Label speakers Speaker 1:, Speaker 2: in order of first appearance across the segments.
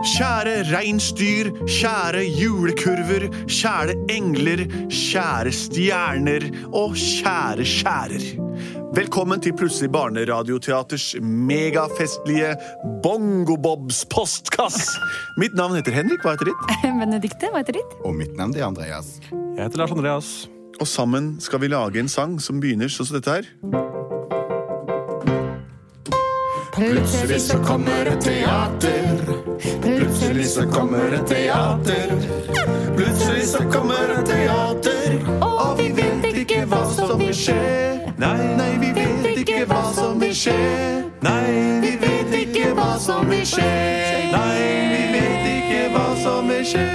Speaker 1: Kjære reinsdyr, kjære julekurver, kjære engler, kjære stjerner og kjære skjærer. Velkommen til Plutselig barneradioteaters megafestlige Bongobobs postkass. Mitt navn heter Henrik, hva heter ditt?
Speaker 2: Benedikte, hva heter ditt?
Speaker 3: Og mitt navn er Andreas.
Speaker 4: Jeg heter Lars Andreas.
Speaker 1: Og sammen skal vi lage en sang som begynner sånn som dette her.
Speaker 3: Plutselig så kommer et teater. Plutselig så kommer et teater. Plutselig så kommer et teater.
Speaker 1: Og vi vet ikke hva som vil skje. Nei, nei, vi vet ikke hva som vil skje. Nei, vi vet ikke hva som vil skje. Nei, vi vet ikke hva som vil skje.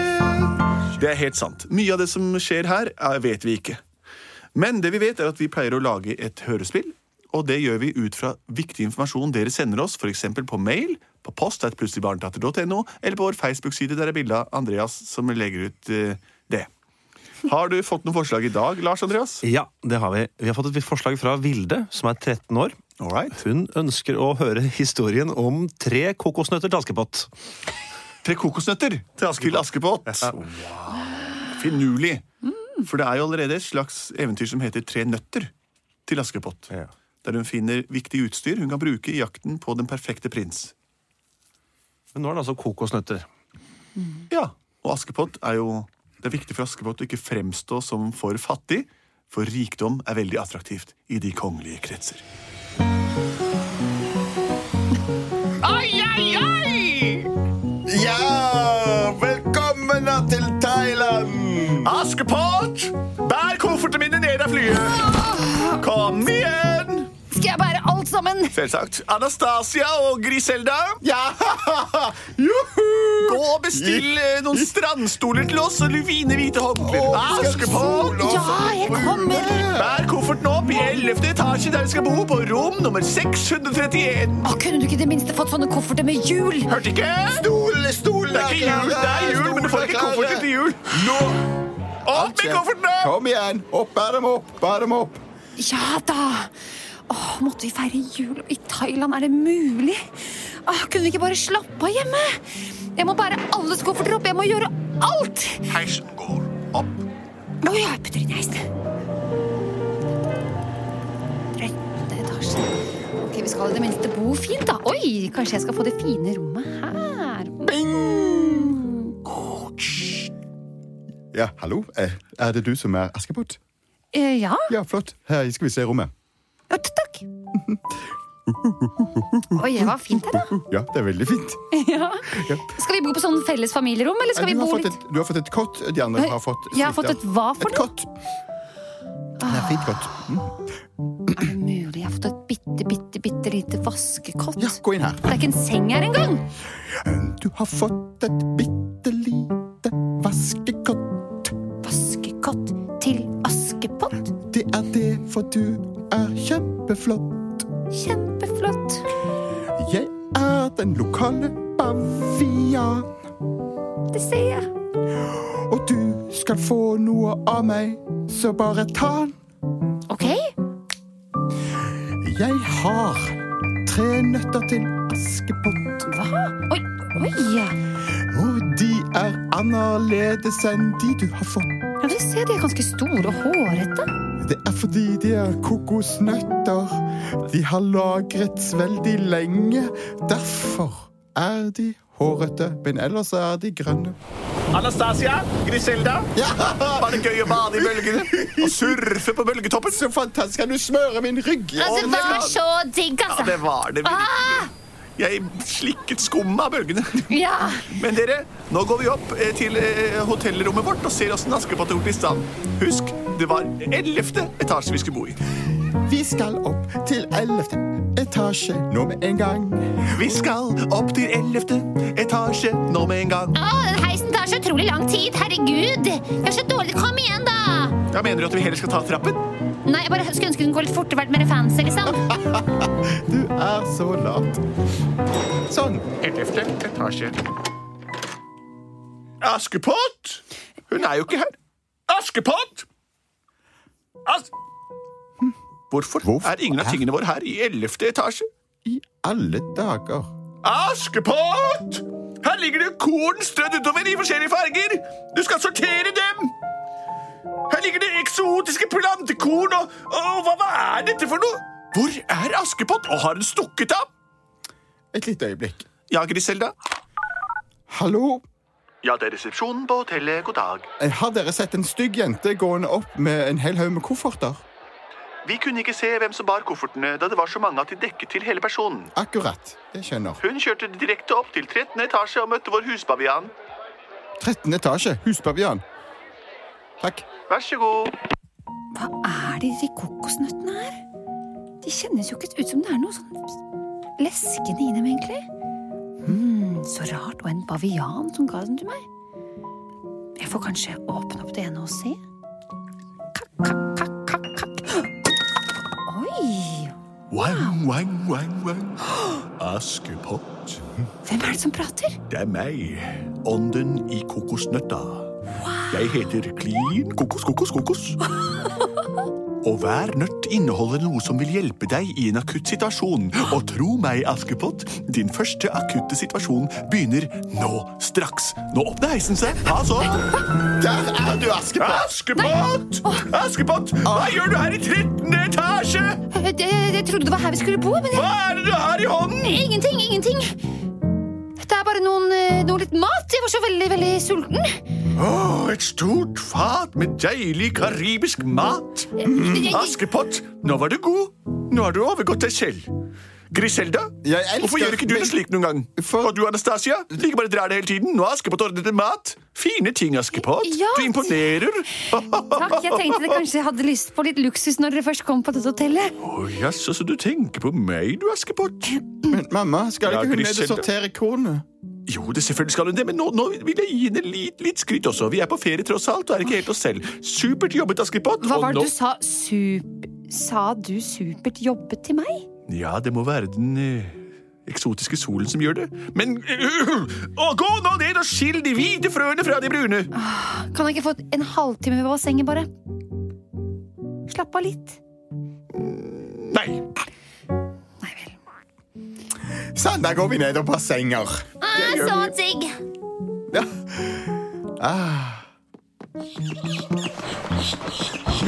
Speaker 1: Det er helt sant. Mye av det som skjer her, er- vet vi ikke. Men det vi vet, er at vi pleier å lage et hørespill. Og det gjør vi ut fra viktig informasjon dere sender oss, f.eks. på mail, på post at plutseligbarneteater.no, eller på vår Facebook-side, der er bilde av Andreas som legger ut eh, det. Har du fått noen forslag i dag, Lars Andreas?
Speaker 4: Ja, det har vi. Vi har fått et forslag fra Vilde, som er 13 år.
Speaker 1: All right.
Speaker 4: Hun ønsker å høre historien om tre kokosnøtter til Askepott.
Speaker 1: Tre kokosnøtter til Askild Askepott. Finurlig. For det er jo allerede et slags eventyr som heter Tre nøtter til Askepott.
Speaker 4: Ja.
Speaker 1: Der hun finner viktig utstyr hun kan bruke i jakten på den perfekte prins.
Speaker 4: Men nå er det altså kokosnøtter.
Speaker 1: Ja, Og Askepott er jo Det er viktig for Askepott å ikke fremstå som for fattig, for rikdom er veldig attraktivt i de kongelige kretser.
Speaker 5: Oi, oi, oi!
Speaker 3: Ja! Velkommen til Thailand!
Speaker 1: Askepott! Bær koffertene mine ned av flyet! Kom igjen!
Speaker 2: Skal jeg bære alt sammen?
Speaker 1: Selvsagt. Anastasia og Griselda.
Speaker 3: Ja! Juhu!
Speaker 1: Gå og bestill eh, noen strandstoler til oss og fine hvite håndklær. Ah, Askepott!
Speaker 2: Ja, jeg kommer!
Speaker 1: Bær kofferten opp i 11. etasje der vi skal bo, på rom nummer 631.
Speaker 2: Å, kunne du ikke i det minste fått sånne kofferter med hjul?
Speaker 1: Hørte ikke?
Speaker 3: Stol, stol,
Speaker 1: Det er ikke jul, det er jul, men du får ikke kofferten til jul.
Speaker 3: Nå!
Speaker 1: Opp med koffertene!
Speaker 3: Kom igjen! Opp, bær dem opp! Bær dem opp!
Speaker 2: Ja da! Å, måtte vi feire jul i Thailand? Er det mulig? Å, kunne vi ikke bare slappe av hjemme? Jeg må bære alles kofferter opp. Jeg må gjøre alt!
Speaker 1: Heisen går opp.
Speaker 2: Å ja, jeg putter inn i heisen. Trettende etasje. Ok, Vi skal i det minste bo fint, da. Oi, kanskje jeg skal få det fine rommet her.
Speaker 3: Ja, hallo? Eh, Er det du som er Askepott?
Speaker 2: Eh, ja.
Speaker 3: Ja, flott. Her skal vi se rommet.
Speaker 2: Ja, t- takk. Oi, det var fint her, da.
Speaker 3: Ja, det er veldig fint.
Speaker 2: Ja. Skal vi bo på sånn felles familierom, eller skal
Speaker 3: Eh,
Speaker 2: vi
Speaker 3: Du har
Speaker 2: bo
Speaker 3: fått
Speaker 2: litt
Speaker 3: et, du har fått et kott. De andre
Speaker 2: Nei,
Speaker 3: har fått
Speaker 2: jeg har fått
Speaker 3: suite.
Speaker 2: et hva for
Speaker 3: Et
Speaker 2: noe?
Speaker 3: kott. Det er fint kott. Mm.
Speaker 2: Er det mulig? Jeg har fått et bitte, bitte, bitte lite vaskekott.
Speaker 3: Ja, gå inn her.
Speaker 2: Det er ikke en seng her engang!
Speaker 3: Du har fått et bitte lite vaskekott.
Speaker 2: Vaskekott til Askepott.
Speaker 3: Det er det, for du er kjempeflott.
Speaker 2: Kjempeflott.
Speaker 3: Jeg er den lokale bavian,
Speaker 2: Det ser jeg.
Speaker 3: og du skal få noe av meg, så bare ta den.
Speaker 2: Ok,
Speaker 3: Jeg har tre nøtter til Askepott,
Speaker 2: hva? Oi, oi!
Speaker 3: og de er annerledes enn de du har fått.
Speaker 2: Ja, du ser, de er ganske store og hårete.
Speaker 3: Det er fordi de er kokosnøtter. De har lagrets veldig lenge. Derfor er de hårete, men ellers er de grønne.
Speaker 1: Anastasia, Griselda, var det gøy å bade i bølgene? Og surfe på bølgetoppen?
Speaker 3: Så fantastisk! Kan du smøre min rygg?
Speaker 2: Altså, det var så digg,
Speaker 1: Ja, det
Speaker 2: altså!
Speaker 1: var det
Speaker 3: Ah!
Speaker 1: virkelig. Jeg slikket skummet av bølgene.
Speaker 2: Ja,
Speaker 1: Men dere, nå går vi opp eh, til eh, hotellrommet vårt og ser åssen Askepott har gjort i stand. Husk, det var 11. etasje vi skulle bo i.
Speaker 3: Vi skal opp til 11. etasje nå med en gang.
Speaker 1: Vi skal opp til 11. etasje nå med en gang.
Speaker 2: Å, den heisen tar så utrolig lang tid. Herregud! Jeg er så dårlig. Kom igjen, da!
Speaker 1: Ja, Mener du at vi heller skal ta trappen?
Speaker 2: Nei, jeg bare skulle ønske den går litt fortere, vært mer fancy, liksom.
Speaker 3: Du er så lat. Sånn.
Speaker 1: 11. etasje. Askepott! Hun er jo ikke her. Askepott! As... Hvorfor,
Speaker 3: Hvorfor
Speaker 1: er ingen av
Speaker 3: er-
Speaker 1: tingene våre her i 11. etasje?
Speaker 3: I alle dager.
Speaker 1: Askepott! Her ligger det korn strødd utover i forskjellige farger. Du skal sortere dem. Her ligger det eksotiske plantekorn og, og hva, hva er dette for noe? Hvor er Askepott, og har hun stukket av?
Speaker 3: Et lite øyeblikk.
Speaker 1: Ja, Griselda.
Speaker 3: Hallo? Eh,
Speaker 6: Ja, det er resepsjonen på hotellet. God dag.
Speaker 3: Har dere sett en stygg jente gående opp med en hel haug med kofferter?
Speaker 6: Vi kunne ikke se hvem som bar koffertene, da det var så mange at de dekket til hele personen.
Speaker 3: Akkurat. Det skjønner.
Speaker 6: Hun kjørte direkte opp til 13. etasje og møtte vår husbavian.
Speaker 3: 13. etasje. Huspavian. Takk.
Speaker 6: Vær så god.
Speaker 2: Hva er det i de kokosnøttene her? De kjennes jo ikke ut som det er noe sånn leskende i dem, egentlig. Hmm, så rart. Og en bavian som ga den til meg. Jeg får kanskje åpne opp det ene og se. Kakk, kakk, kakk, kakk, kakk. Oi!
Speaker 1: Wang, wang, wang, wang. Askepott,
Speaker 2: Hvem er det som prater?
Speaker 1: det er meg. Ånden i kokosnøtta. Jeg heter Klin kokos, kokos, kokos. Og hver nøtt inneholder noe som vil hjelpe deg i en akutt situasjon. Og tro meg, Askepott, din første akutte situasjon begynner nå straks. Nå åpner heisen seg. Ha så.
Speaker 3: Der er du, Askepott!
Speaker 1: Askepott! Askepott, hva gjør du her i 13. etasje?
Speaker 2: Jeg, Eh, jeg, jeg trodde det var her vi skulle bo, men jeg,
Speaker 1: Hva er det du har i hånden?
Speaker 2: ingenting, ingenting. Dette er bare noen, eh, noe litt mat. Jeg var så veldig, veldig sulten.
Speaker 1: Å, et stort fat med deilig karibisk mat. Askepott, nå var du god. Nå har du overgått deg selv. Griselda,
Speaker 3: Jeg elsker
Speaker 1: hvorfor gjør ikke du det
Speaker 3: meg-
Speaker 1: slik noen gang?
Speaker 3: For-
Speaker 1: Og du, Anastasia, like bare drar det hele tiden. Nå har Askepott ordnet deg mat. Fine ting, Askepott.
Speaker 2: Ja.
Speaker 1: Du imponerer. Å,
Speaker 2: Takk, jeg tenkte dere kanskje hadde lyst på litt luksus når dere først kom på dette hotellet.
Speaker 1: jaså, så du tenker på meg, du, Askepott.
Speaker 3: Men mamma, skal
Speaker 1: Ja,
Speaker 3: ikke hun ned
Speaker 1: Griselda.
Speaker 3: og sortere kornet?
Speaker 1: Jo, det selvfølgelig skal hun det, men nå, nå vil jeg gi henne litt, litt skryt også. Vi er på ferie tross alt og er ikke helt oss selv. Supert jobbet, Askepott.
Speaker 2: Hva
Speaker 1: og
Speaker 2: var
Speaker 1: nå-
Speaker 2: det du sa? Sup... Sa du supert jobbet til meg?
Speaker 1: Ja, det må være den eh, eksotiske solen som gjør det. Men eh, øh, Å, gå nå ned og skill de hvite frøene fra de brune!
Speaker 2: Kan jeg ikke få en halvtime ved bassenget, bare? Slapp av litt.
Speaker 1: Nei.
Speaker 2: Nei vel.
Speaker 3: Sånn, da går vi ned og bassenger.
Speaker 2: Ah, så digg!
Speaker 3: Ja. Ah.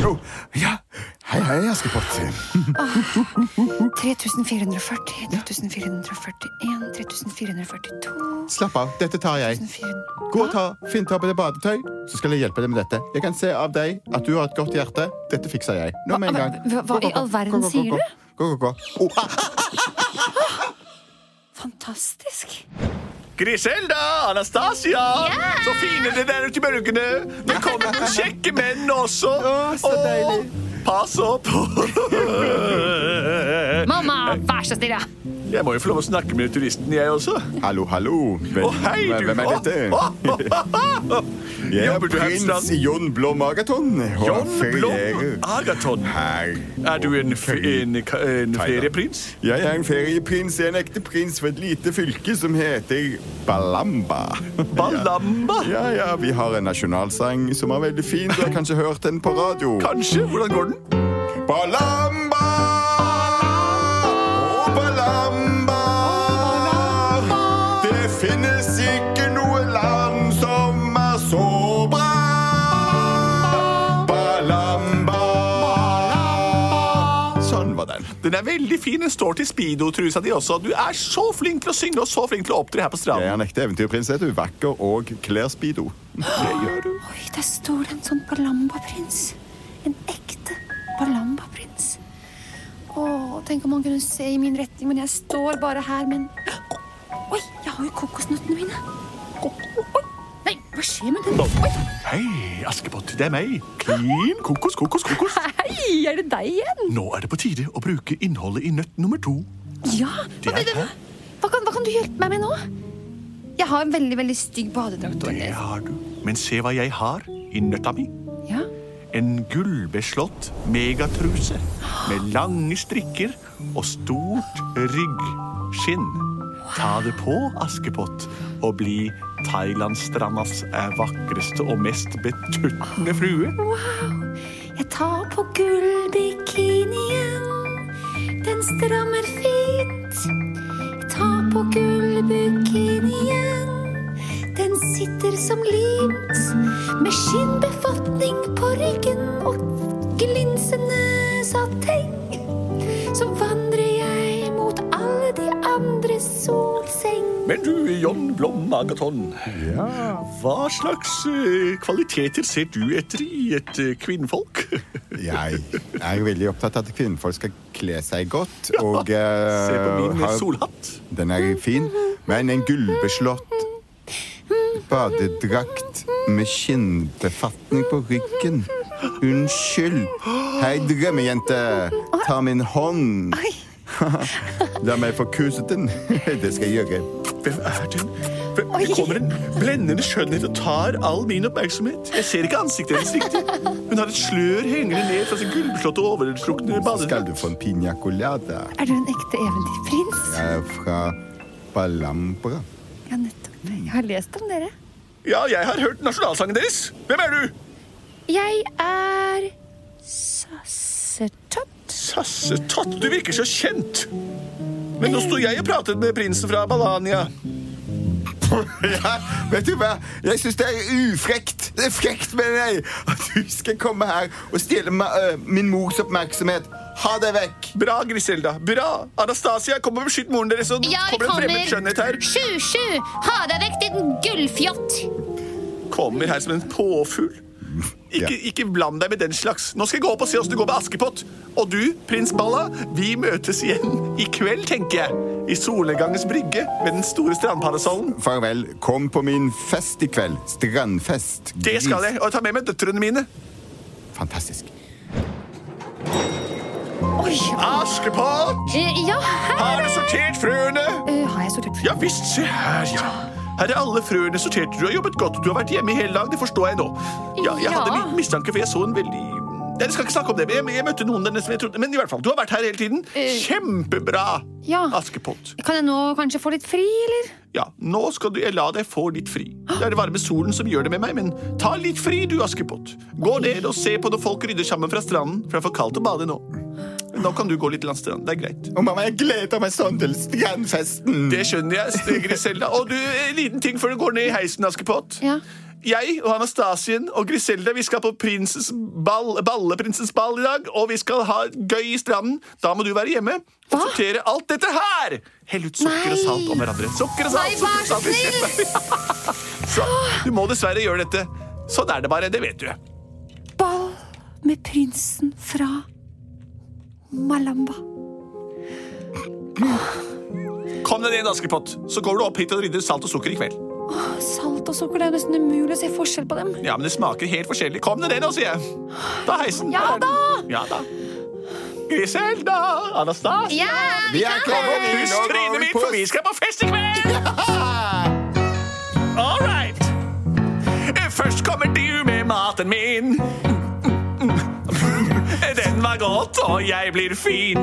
Speaker 3: Jo, ja. Hei, hei, Askepott.
Speaker 2: 3440, 3441, 3442
Speaker 3: Slapp av, dette tar jeg. Gå og ta, Finn ta på deg badetøy, så skal jeg hjelpe deg med dette. Jeg kan se av deg at du har et godt hjerte. Dette fikser jeg. Nå med en gang.
Speaker 2: Hva- hva- hva
Speaker 3: Gå, gå,
Speaker 2: i all
Speaker 3: gå.
Speaker 2: verden
Speaker 3: Gå, gå, gå,
Speaker 2: sier
Speaker 3: gå.
Speaker 2: du?
Speaker 3: Gå, gå, gå. Oh, ah,
Speaker 2: Fantastisk.
Speaker 1: Griselda! Anastasia! Så fine dere er ute i bølgene! Velkommen til kjekke menn også!
Speaker 3: Å, så
Speaker 1: Og
Speaker 3: deilig.
Speaker 1: Pass opp!
Speaker 2: Mamma, vær så snill, da!
Speaker 1: Jeg må jo få lov å snakke med turisten, jeg også.
Speaker 3: hallo, hallo. Hvem,
Speaker 1: Å, hei, du!
Speaker 3: hvem er dette? Jeg er
Speaker 1: Jobber du her i
Speaker 3: prins
Speaker 1: staden?
Speaker 3: Jon Blåmagaton. og
Speaker 1: John
Speaker 3: ferierer
Speaker 1: Blom Agaton.
Speaker 3: Her.
Speaker 1: Er du en, fe- en, ka- en ferieprins?
Speaker 3: Jeg er en ferieprins, jeg er en ekte prins for et lite fylke som heter Balamba.
Speaker 1: Balamba?
Speaker 3: Ja, ja, vi har en nasjonalsang som er veldig fin. Du har kanskje hørt den på radio.
Speaker 1: Kanskje. Hvordan går den?
Speaker 3: Balamba! Å, Balamba! Det finnes ikke noe land som er så bra. Balamba! Sånn var den.
Speaker 1: Den er veldig fin. Den står til speedo-trusa di også. Du er så flink til å synge og så flink til å opptre her på
Speaker 3: Jeg
Speaker 1: stranden.
Speaker 3: er en ekte eventyrprins, heter du. Vakker og kler speedo.
Speaker 2: Oi, der står det en sånn Balamba-prins. En ekte Balamba-prins. Å, tenk om han kunne se i min retning, men jeg står bare her med en Oi, jeg har jo kokosnøttene mine. Oi, nei, hva skjer med den? Oi,
Speaker 1: Hei, Askepott. Det er meg. Klin kokos, kokos, kokos.
Speaker 2: hei, er det deg igjen?
Speaker 1: Nå er det på tide å bruke innholdet i nøtt nummer to.
Speaker 2: Ja. Hva,
Speaker 1: Det er
Speaker 2: hva,
Speaker 1: jeg.
Speaker 2: hva, kan, hva kan du hjelpe meg med nå? Jeg har en veldig, veldig stygg badedrakt.
Speaker 1: Det
Speaker 2: Ole.
Speaker 1: har du. Men se hva jeg har i nøtta mi.
Speaker 2: Ja.
Speaker 1: En gullbeslått megatruse med lange strikker og stort ryggskinn. Ta det på, Askepott, og bli Thailandstrandas eh, vakreste og mest betuttende frue.
Speaker 2: Jeg tar på gullbikinien, den strammer fint. Jeg tar på gullbikinien, som limt, med skinnbefatning på ryggen og glinsende sateng. Så vandrer jeg mot alle de andres solseng.
Speaker 1: Men du, John Blom Agaton, hva slags eh, kvaliteter ser du etter i et eh, kvinnfolk?
Speaker 3: Jeg er jo veldig opptatt av at kvinnfolk skal kle seg godt. Og
Speaker 1: Se på
Speaker 3: eh,
Speaker 1: min
Speaker 3: ha-
Speaker 1: solhatt.
Speaker 3: Den er fin, men en gullbeslått badedrakt med skinnbefatning på ryggen. Unnskyld. Hei, drømmejente. Ta min hånd.
Speaker 2: Oi,
Speaker 3: La meg få kuse den. Det skal jeg gjøre.
Speaker 1: Hvem er den? Hvem,
Speaker 2: Oi.
Speaker 1: det kommer en blendende skjønnhet og tar all min oppmerksomhet. Jeg ser ikke ansiktet hennes riktig. Hun har et slør hengende ned fra sin gullbeslåtte og overstrukne
Speaker 3: Så skal du
Speaker 1: badedrakt.
Speaker 3: få en piña colada.
Speaker 2: er du en ekte eventyrprins?
Speaker 3: Jeg er fra Balambra.
Speaker 2: Ja, nettopp. Jeg har lest om dere.
Speaker 1: Ja, jeg har hørt nasjonalsangen deres. Hvem er du?
Speaker 2: Jeg er Sassetott.
Speaker 1: Sassetott, du virker så kjent. Men nå sto jeg og pratet med prinsen fra Balania.
Speaker 3: Ja, vet du hva? Jeg syns det er ufrekt. Det er frekt med deg at du skal komme her og stjele ma- øh, min mors oppmerksomhet. Ha deg vekk.
Speaker 1: Bra, Griselda. Bra. Anastasia, kom og beskytt moren deres. Og
Speaker 7: Ja, vi
Speaker 1: kommer en fremmed skjønnhet her.
Speaker 7: kommer. Sju, sju! Ha deg vekk, din gullfjott!
Speaker 1: Kommer her som en påfugl. Ikke,
Speaker 3: Ja.
Speaker 1: ikke bland deg med den slags. Nå skal jeg gå opp og se åssen det går med Askepott. Og du, prins Balla, vi møtes igjen i kveld, tenker jeg. I solnedgangens brygge med den store strandparasollen.
Speaker 3: Farvel. Kom på min fest i kveld. Strandfest.
Speaker 1: Det skal jeg. Og jeg tar med meg døtrene mine.
Speaker 3: Fantastisk.
Speaker 2: Oi!
Speaker 1: Askepott!
Speaker 2: eh, Ja, her!
Speaker 1: Har du sortert frøene?
Speaker 2: Eh, har jeg sortert
Speaker 1: Ja visst, se her, ja. Her er alle frøene sortert. Du har jobbet godt. Du har vært hjemme i hele dag, det forstår jeg nå. Ja, jeg hadde en
Speaker 7: Ja.
Speaker 1: liten mistanke, for jeg så en veldig Nei, Jeg skal ikke snakke om det, men jeg, jeg møtte noen der nede som jeg trodde Men i hvert fall, du har vært her hele tiden. Kjempebra,
Speaker 2: Ja.
Speaker 1: Askepott.
Speaker 2: Kan jeg nå kanskje få litt fri, eller?
Speaker 1: Ja, nå skal du jeg la deg få litt fri. Det er det varme solen som gjør det med meg, men ta litt fri, du, Askepott. Gå ned og se på når folk rydder sammen fra stranden, for det er for kaldt å bade nå. Men nå kan du gå litt langs stranden. Det er greit.
Speaker 3: Å, mamma, jeg gleder meg sånn til strandfesten.
Speaker 1: Det skjønner jeg, Griselda. Og du, en liten ting før du går ned i heisen, Askepott.
Speaker 2: Ja.
Speaker 1: Jeg og Anastasien og Griselda vi skal på prinsens ball, balleprinsens ball i dag, og vi skal ha gøy i stranden. Da må du være hjemme og sortere alt dette her! Hell ut sukker og salt om hverandre. Sukker og salt,
Speaker 7: Nei,
Speaker 1: sukker og salt.
Speaker 7: vær
Speaker 1: i kjeften. Så, du må dessverre gjøre dette. Sånn er det bare, det vet du.
Speaker 2: Ball med prinsen fra Malamba.
Speaker 1: Kom deg ned, Askepott, så går du opp hit og rydder salt og sukker i kveld.
Speaker 2: Salt og sukker, det er jo nesten umulig å se forskjell på dem.
Speaker 1: Ja, men det smaker helt forskjellig. Kom deg ned nå, sier jeg. Ta heisen.
Speaker 2: Ja
Speaker 1: Der er den. Ja da. Griselda, Anastas.
Speaker 7: Ja!
Speaker 3: Vi er klare. Vi
Speaker 1: Puss
Speaker 3: når
Speaker 1: trynet
Speaker 3: over
Speaker 1: mitt,
Speaker 3: på-
Speaker 1: for vi skal på fest i kveld! All right. Først kommer du med maten min. Den var godt, og jeg blir fin.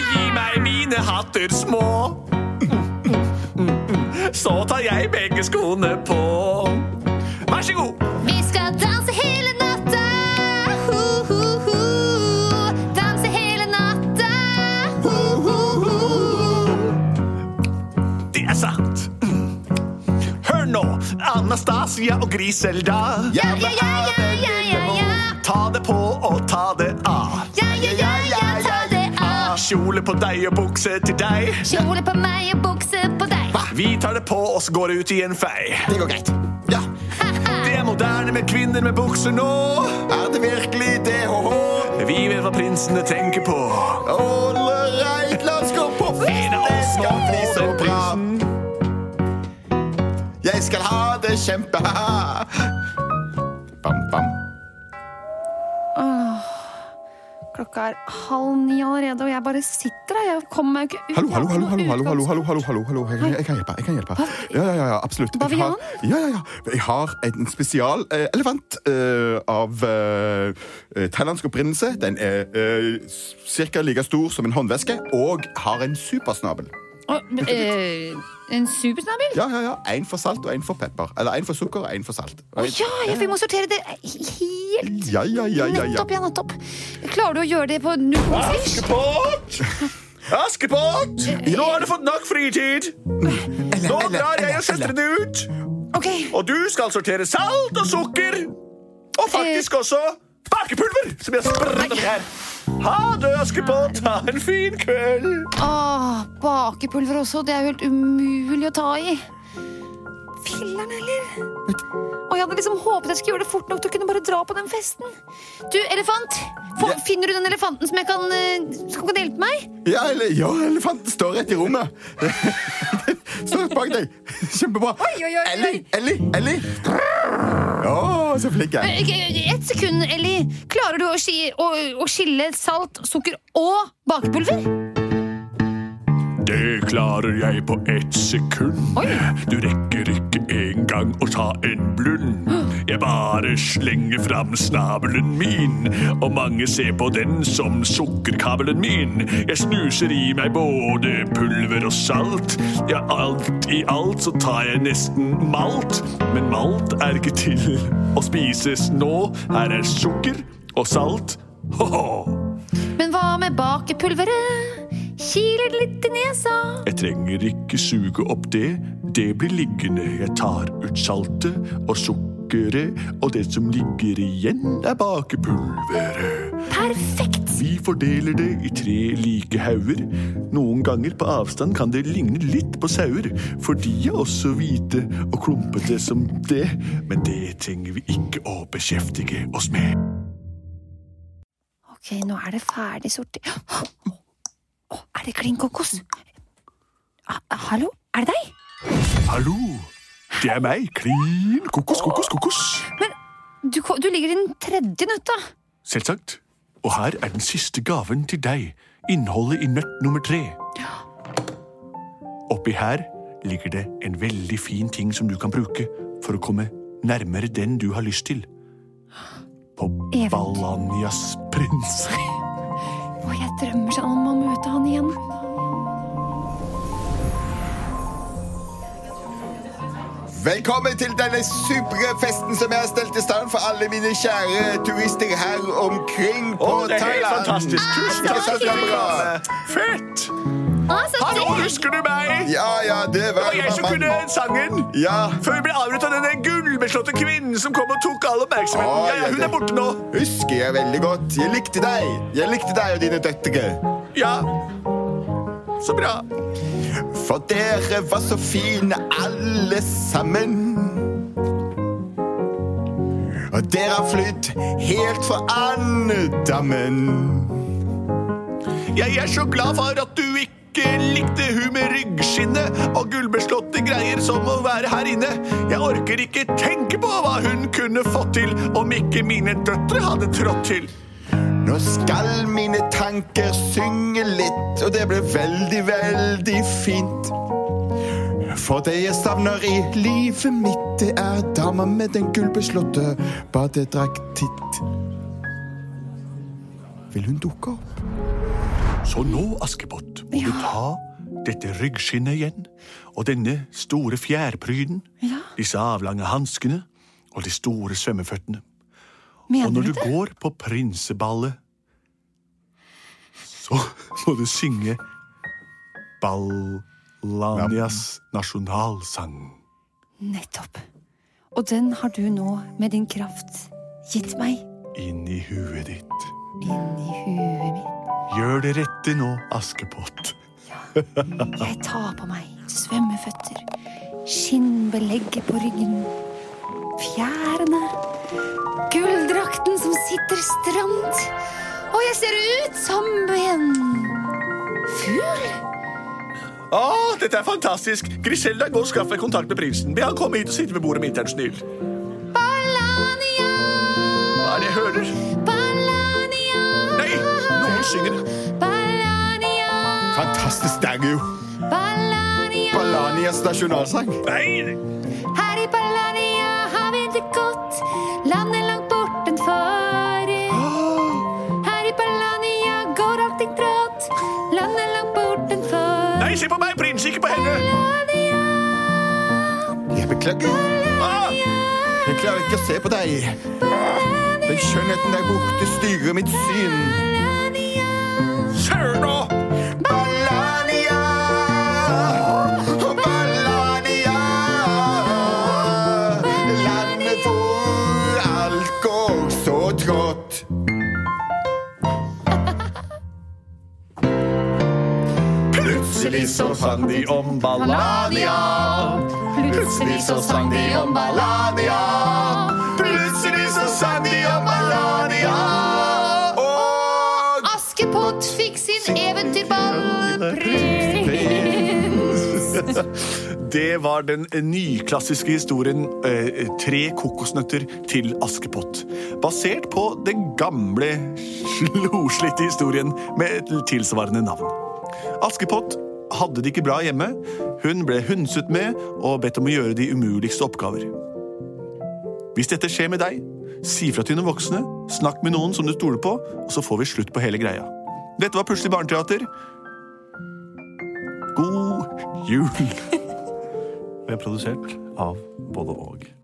Speaker 1: Gi meg mine hatter små. Så tar jeg begge skoene på. Vær så god.
Speaker 7: Vi skal danse hele natta! Ho, ho, ho! Danse hele natta! Ho, ho, ho!
Speaker 1: Det er sant. Hør nå, Anastasia og Griselda.
Speaker 7: Ja, ja, ja, ja, ja, ja, ja!
Speaker 1: Ta det på og ta det av.
Speaker 7: Ja, ja, ja, ja, ta det
Speaker 1: Ah,
Speaker 7: av!
Speaker 1: Kjole på deg og bukse til deg.
Speaker 7: Kjole på meg og bukse på deg.
Speaker 1: Vi tar det på og så går det ut i en fei.
Speaker 3: Det går greit. Ja.
Speaker 1: Det er moderne med kvinner med bukser nå.
Speaker 3: Er det virkelig det? Ho-ho?
Speaker 1: Vi vet hva prinsene tenker på.
Speaker 3: All right, la oss gå på fest.
Speaker 1: En av
Speaker 3: Det
Speaker 1: oss må
Speaker 3: skal bli
Speaker 1: få
Speaker 3: så
Speaker 1: den
Speaker 3: bra.
Speaker 1: prinsen.
Speaker 3: Jeg skal ha det kjempe. Bam, bam.
Speaker 2: Klokka er halv ni allerede, og jeg bare sitter her. Jeg kommer meg jo ikke ut.
Speaker 3: Hallo, hallo,
Speaker 2: Jeg har ikke
Speaker 3: hallo, hallo,
Speaker 2: noe
Speaker 3: hallo, hallo,
Speaker 2: utgangs-
Speaker 3: hallo, hallo, hallo, hallo. Jeg, kan- jeg kan hjelpe, jeg kan hjelpe. Ja, ja, ja, ja absolutt. Jeg har,
Speaker 2: Bavian?
Speaker 3: ja, ja, ja. Jeg har en spesial eh, elefant eh, av eh, eh, thailandsk opprinnelse. Den er eh, cirka like stor som en håndveske, og har en supersnabel.
Speaker 2: Å, men, eh, en supersnabel?
Speaker 3: Ja, ja, ja. En for salt og en for pepper. Eller en for sukker og en for salt.
Speaker 2: Å ja, ja, vi må sortere det helt.
Speaker 3: Ja, ja, ja, ja, ja.
Speaker 2: Nettopp, ja, nettopp. Klarer du å gjøre det på null
Speaker 3: Ah,
Speaker 2: komma?
Speaker 1: Askepott! Askepott! Nå har du fått nok fritid. Nå drar jeg og jeg setter det ut.
Speaker 2: Ok,
Speaker 1: Og du skal sortere salt og sukker. Og faktisk også bakepulver, som jeg sprøyter oppi her. Ha det, Askepott. Ha en fin kveld.
Speaker 2: Åh, Ah, bakepulver også. Det er jo helt umulig å ta i. Filler'n, eller? Og jeg hadde liksom håpet jeg skulle gjøre det fort nok til å kunne bare dra på den festen. Du, elefant! Få- Finner du den elefanten som jeg kan eh, Som kan hjelpe meg?
Speaker 3: Ja, ele ja, elefanten står rett i rommet. står rett bak deg. Kjempebra.
Speaker 2: Oi, oi, oi, oi.
Speaker 3: Ellie, Ellie, Ellie. Å, så flink jeg er.
Speaker 2: Eh, eh, Ett sekund, Ellie. Klarer du å, ski, å, å skille salt, sukker og bakepulver?
Speaker 1: Det klarer jeg på ett sekund.
Speaker 2: Oi.
Speaker 1: Du rekker ikke engang å ta en blund. Jeg bare slenger fram snabelen min, og mange ser på den som sukkerkabelen min. Jeg snuser i meg både pulver og salt. Ja, alt i alt så tar jeg nesten malt, men malt er ikke til å spises nå. Her er sukker og salt. Ho-ho!
Speaker 2: Men hva med bakepulveret? Kiler det litt i nesa?
Speaker 1: Jeg trenger ikke suge opp det. Det blir liggende. Jeg tar ut saltet og sukkeret, og det som ligger igjen, er bakepulveret.
Speaker 2: Perfekt!
Speaker 1: Vi fordeler det i tre like hauger. Noen ganger på avstand kan det ligne litt på sauer, for de er også hvite og klumpete som det, men det trenger vi ikke å beskjeftige oss med.
Speaker 2: Ok, nå er det ferdig sortert. Å, er det klin kokos? Ha- Hallo, er det deg?
Speaker 1: Hallo! Det er meg, klin kokos, kokos, kokos.
Speaker 2: Du, ko- du ligger i den tredje nøtta.
Speaker 1: Selvsagt. Og her er den siste gaven til deg. Innholdet i nøtt nummer tre. Oppi her ligger det en veldig fin ting som du kan bruke for å komme nærmere den du har lyst til. På
Speaker 2: Event.
Speaker 1: Balanias prins.
Speaker 2: Og jeg drømmer sånn om å møte han igjen.
Speaker 3: Velkommen til denne supre festen som jeg har stelt i stand for alle mine kjære turister her omkring på
Speaker 1: Å, det er helt
Speaker 3: Thailand.
Speaker 1: fantastisk. Tusen
Speaker 3: Ikke
Speaker 1: takk for
Speaker 3: sant,
Speaker 1: at
Speaker 3: det er
Speaker 1: du
Speaker 3: bra?
Speaker 1: kom. Fett!
Speaker 7: Å, så
Speaker 1: Hallo,
Speaker 7: digg!
Speaker 1: husker du meg?
Speaker 3: Ja, ja, det
Speaker 1: Det
Speaker 3: var
Speaker 1: var jeg som kunne sangen.
Speaker 3: Ja.
Speaker 1: Før vi ble avbrutt av denne gullbeslåtte kvinnen som kom og tok all oppmerksomheten.
Speaker 3: Å,
Speaker 1: Ja, ja,
Speaker 3: ja,
Speaker 1: hun er
Speaker 3: det-
Speaker 1: borte nå.
Speaker 3: Husker jeg veldig godt. Jeg likte deg. Jeg likte deg og dine døtre.
Speaker 1: Ja. Så bra.
Speaker 3: For dere var så fine alle sammen. Og dere har flydd helt fra andedammen.
Speaker 1: Jeg er så glad for at du ikke likte hun med ryggskinnet og gullbeslåtte greier som å være her inne. Jeg orker ikke tenke på hva hun kunne fått til om ikke mine døtre hadde trådt til.
Speaker 3: Nå skal mine tanker synge litt, og det blir veldig, veldig fint. For det jeg savner i livet mitt, det er dama med den gullbeslåtte badedraktitt. Vil hun dukke opp?
Speaker 1: Så nå, Askepott, må du ta dette ryggskinnet igjen og denne store fjærpryden,
Speaker 2: Ja.
Speaker 1: disse avlange hanskene og de store svømmeføttene. Og
Speaker 2: Mener
Speaker 1: når
Speaker 2: du
Speaker 1: du
Speaker 2: det?
Speaker 1: går på prinseballet, så må du synge Ballanias nasjonalsang.
Speaker 2: Nettopp. Og den har du nå, med din kraft, gitt meg
Speaker 1: Inn i huet ditt.
Speaker 2: inni huet mitt.
Speaker 1: Gjør det rette nå, Askepott.
Speaker 2: Jeg tar på meg svømmeføtter, skinnbelegget på ryggen, fjærene, gulldrakten som sitter stramt, og jeg ser ut som en fugl.
Speaker 1: Å, dette er fantastisk! Griselda, gå og skaff deg kontakt med prinsen. Be han komme hit og sitte ved bordet mitt, er du snill.
Speaker 7: Balania,
Speaker 1: Hva er det jeg hører?
Speaker 7: Balania,
Speaker 1: Nei, noen synger.
Speaker 7: Balania,
Speaker 3: Fantastisk, det er jo
Speaker 7: Balania.
Speaker 3: Balanias nasjonalsang.
Speaker 1: Nei!
Speaker 7: Her i Balania har vi det godt. Landet langt bortenfor. Her i Balania går allting trått. Landet langt bortenfor.
Speaker 1: Nei, se på meg, prins, ikke på henne!
Speaker 7: Balania,
Speaker 3: Jeg beklager.
Speaker 1: Ah,
Speaker 3: Jeg klarer ikke å se på deg. Den skjønnheten der borte styrer mitt syn.
Speaker 1: Søren nå!
Speaker 3: Ballania, Ballania, så sang de om Ballania. Plutselig så sang de om Ballania. Plutselig så sang de om Ballania. Og
Speaker 7: Askepott fikk sin eventyrballeprins.
Speaker 1: Det var den nyklassiske historien eh, Tre kokosnøtter til Askepott. Basert på den gamle, loslitte historien med et tilsvarende navn. Askepott hadde det ikke bra hjemme. Hun ble hundset med og bedt om å gjøre de umuligste oppgaver. Hvis dette skjer med deg, si fra til noen voksne, snakk med noen som du stoler på, og så får vi slutt på hele greia. Dette var Plutselig barneteater. God jul!
Speaker 4: Vi er produsert av både og.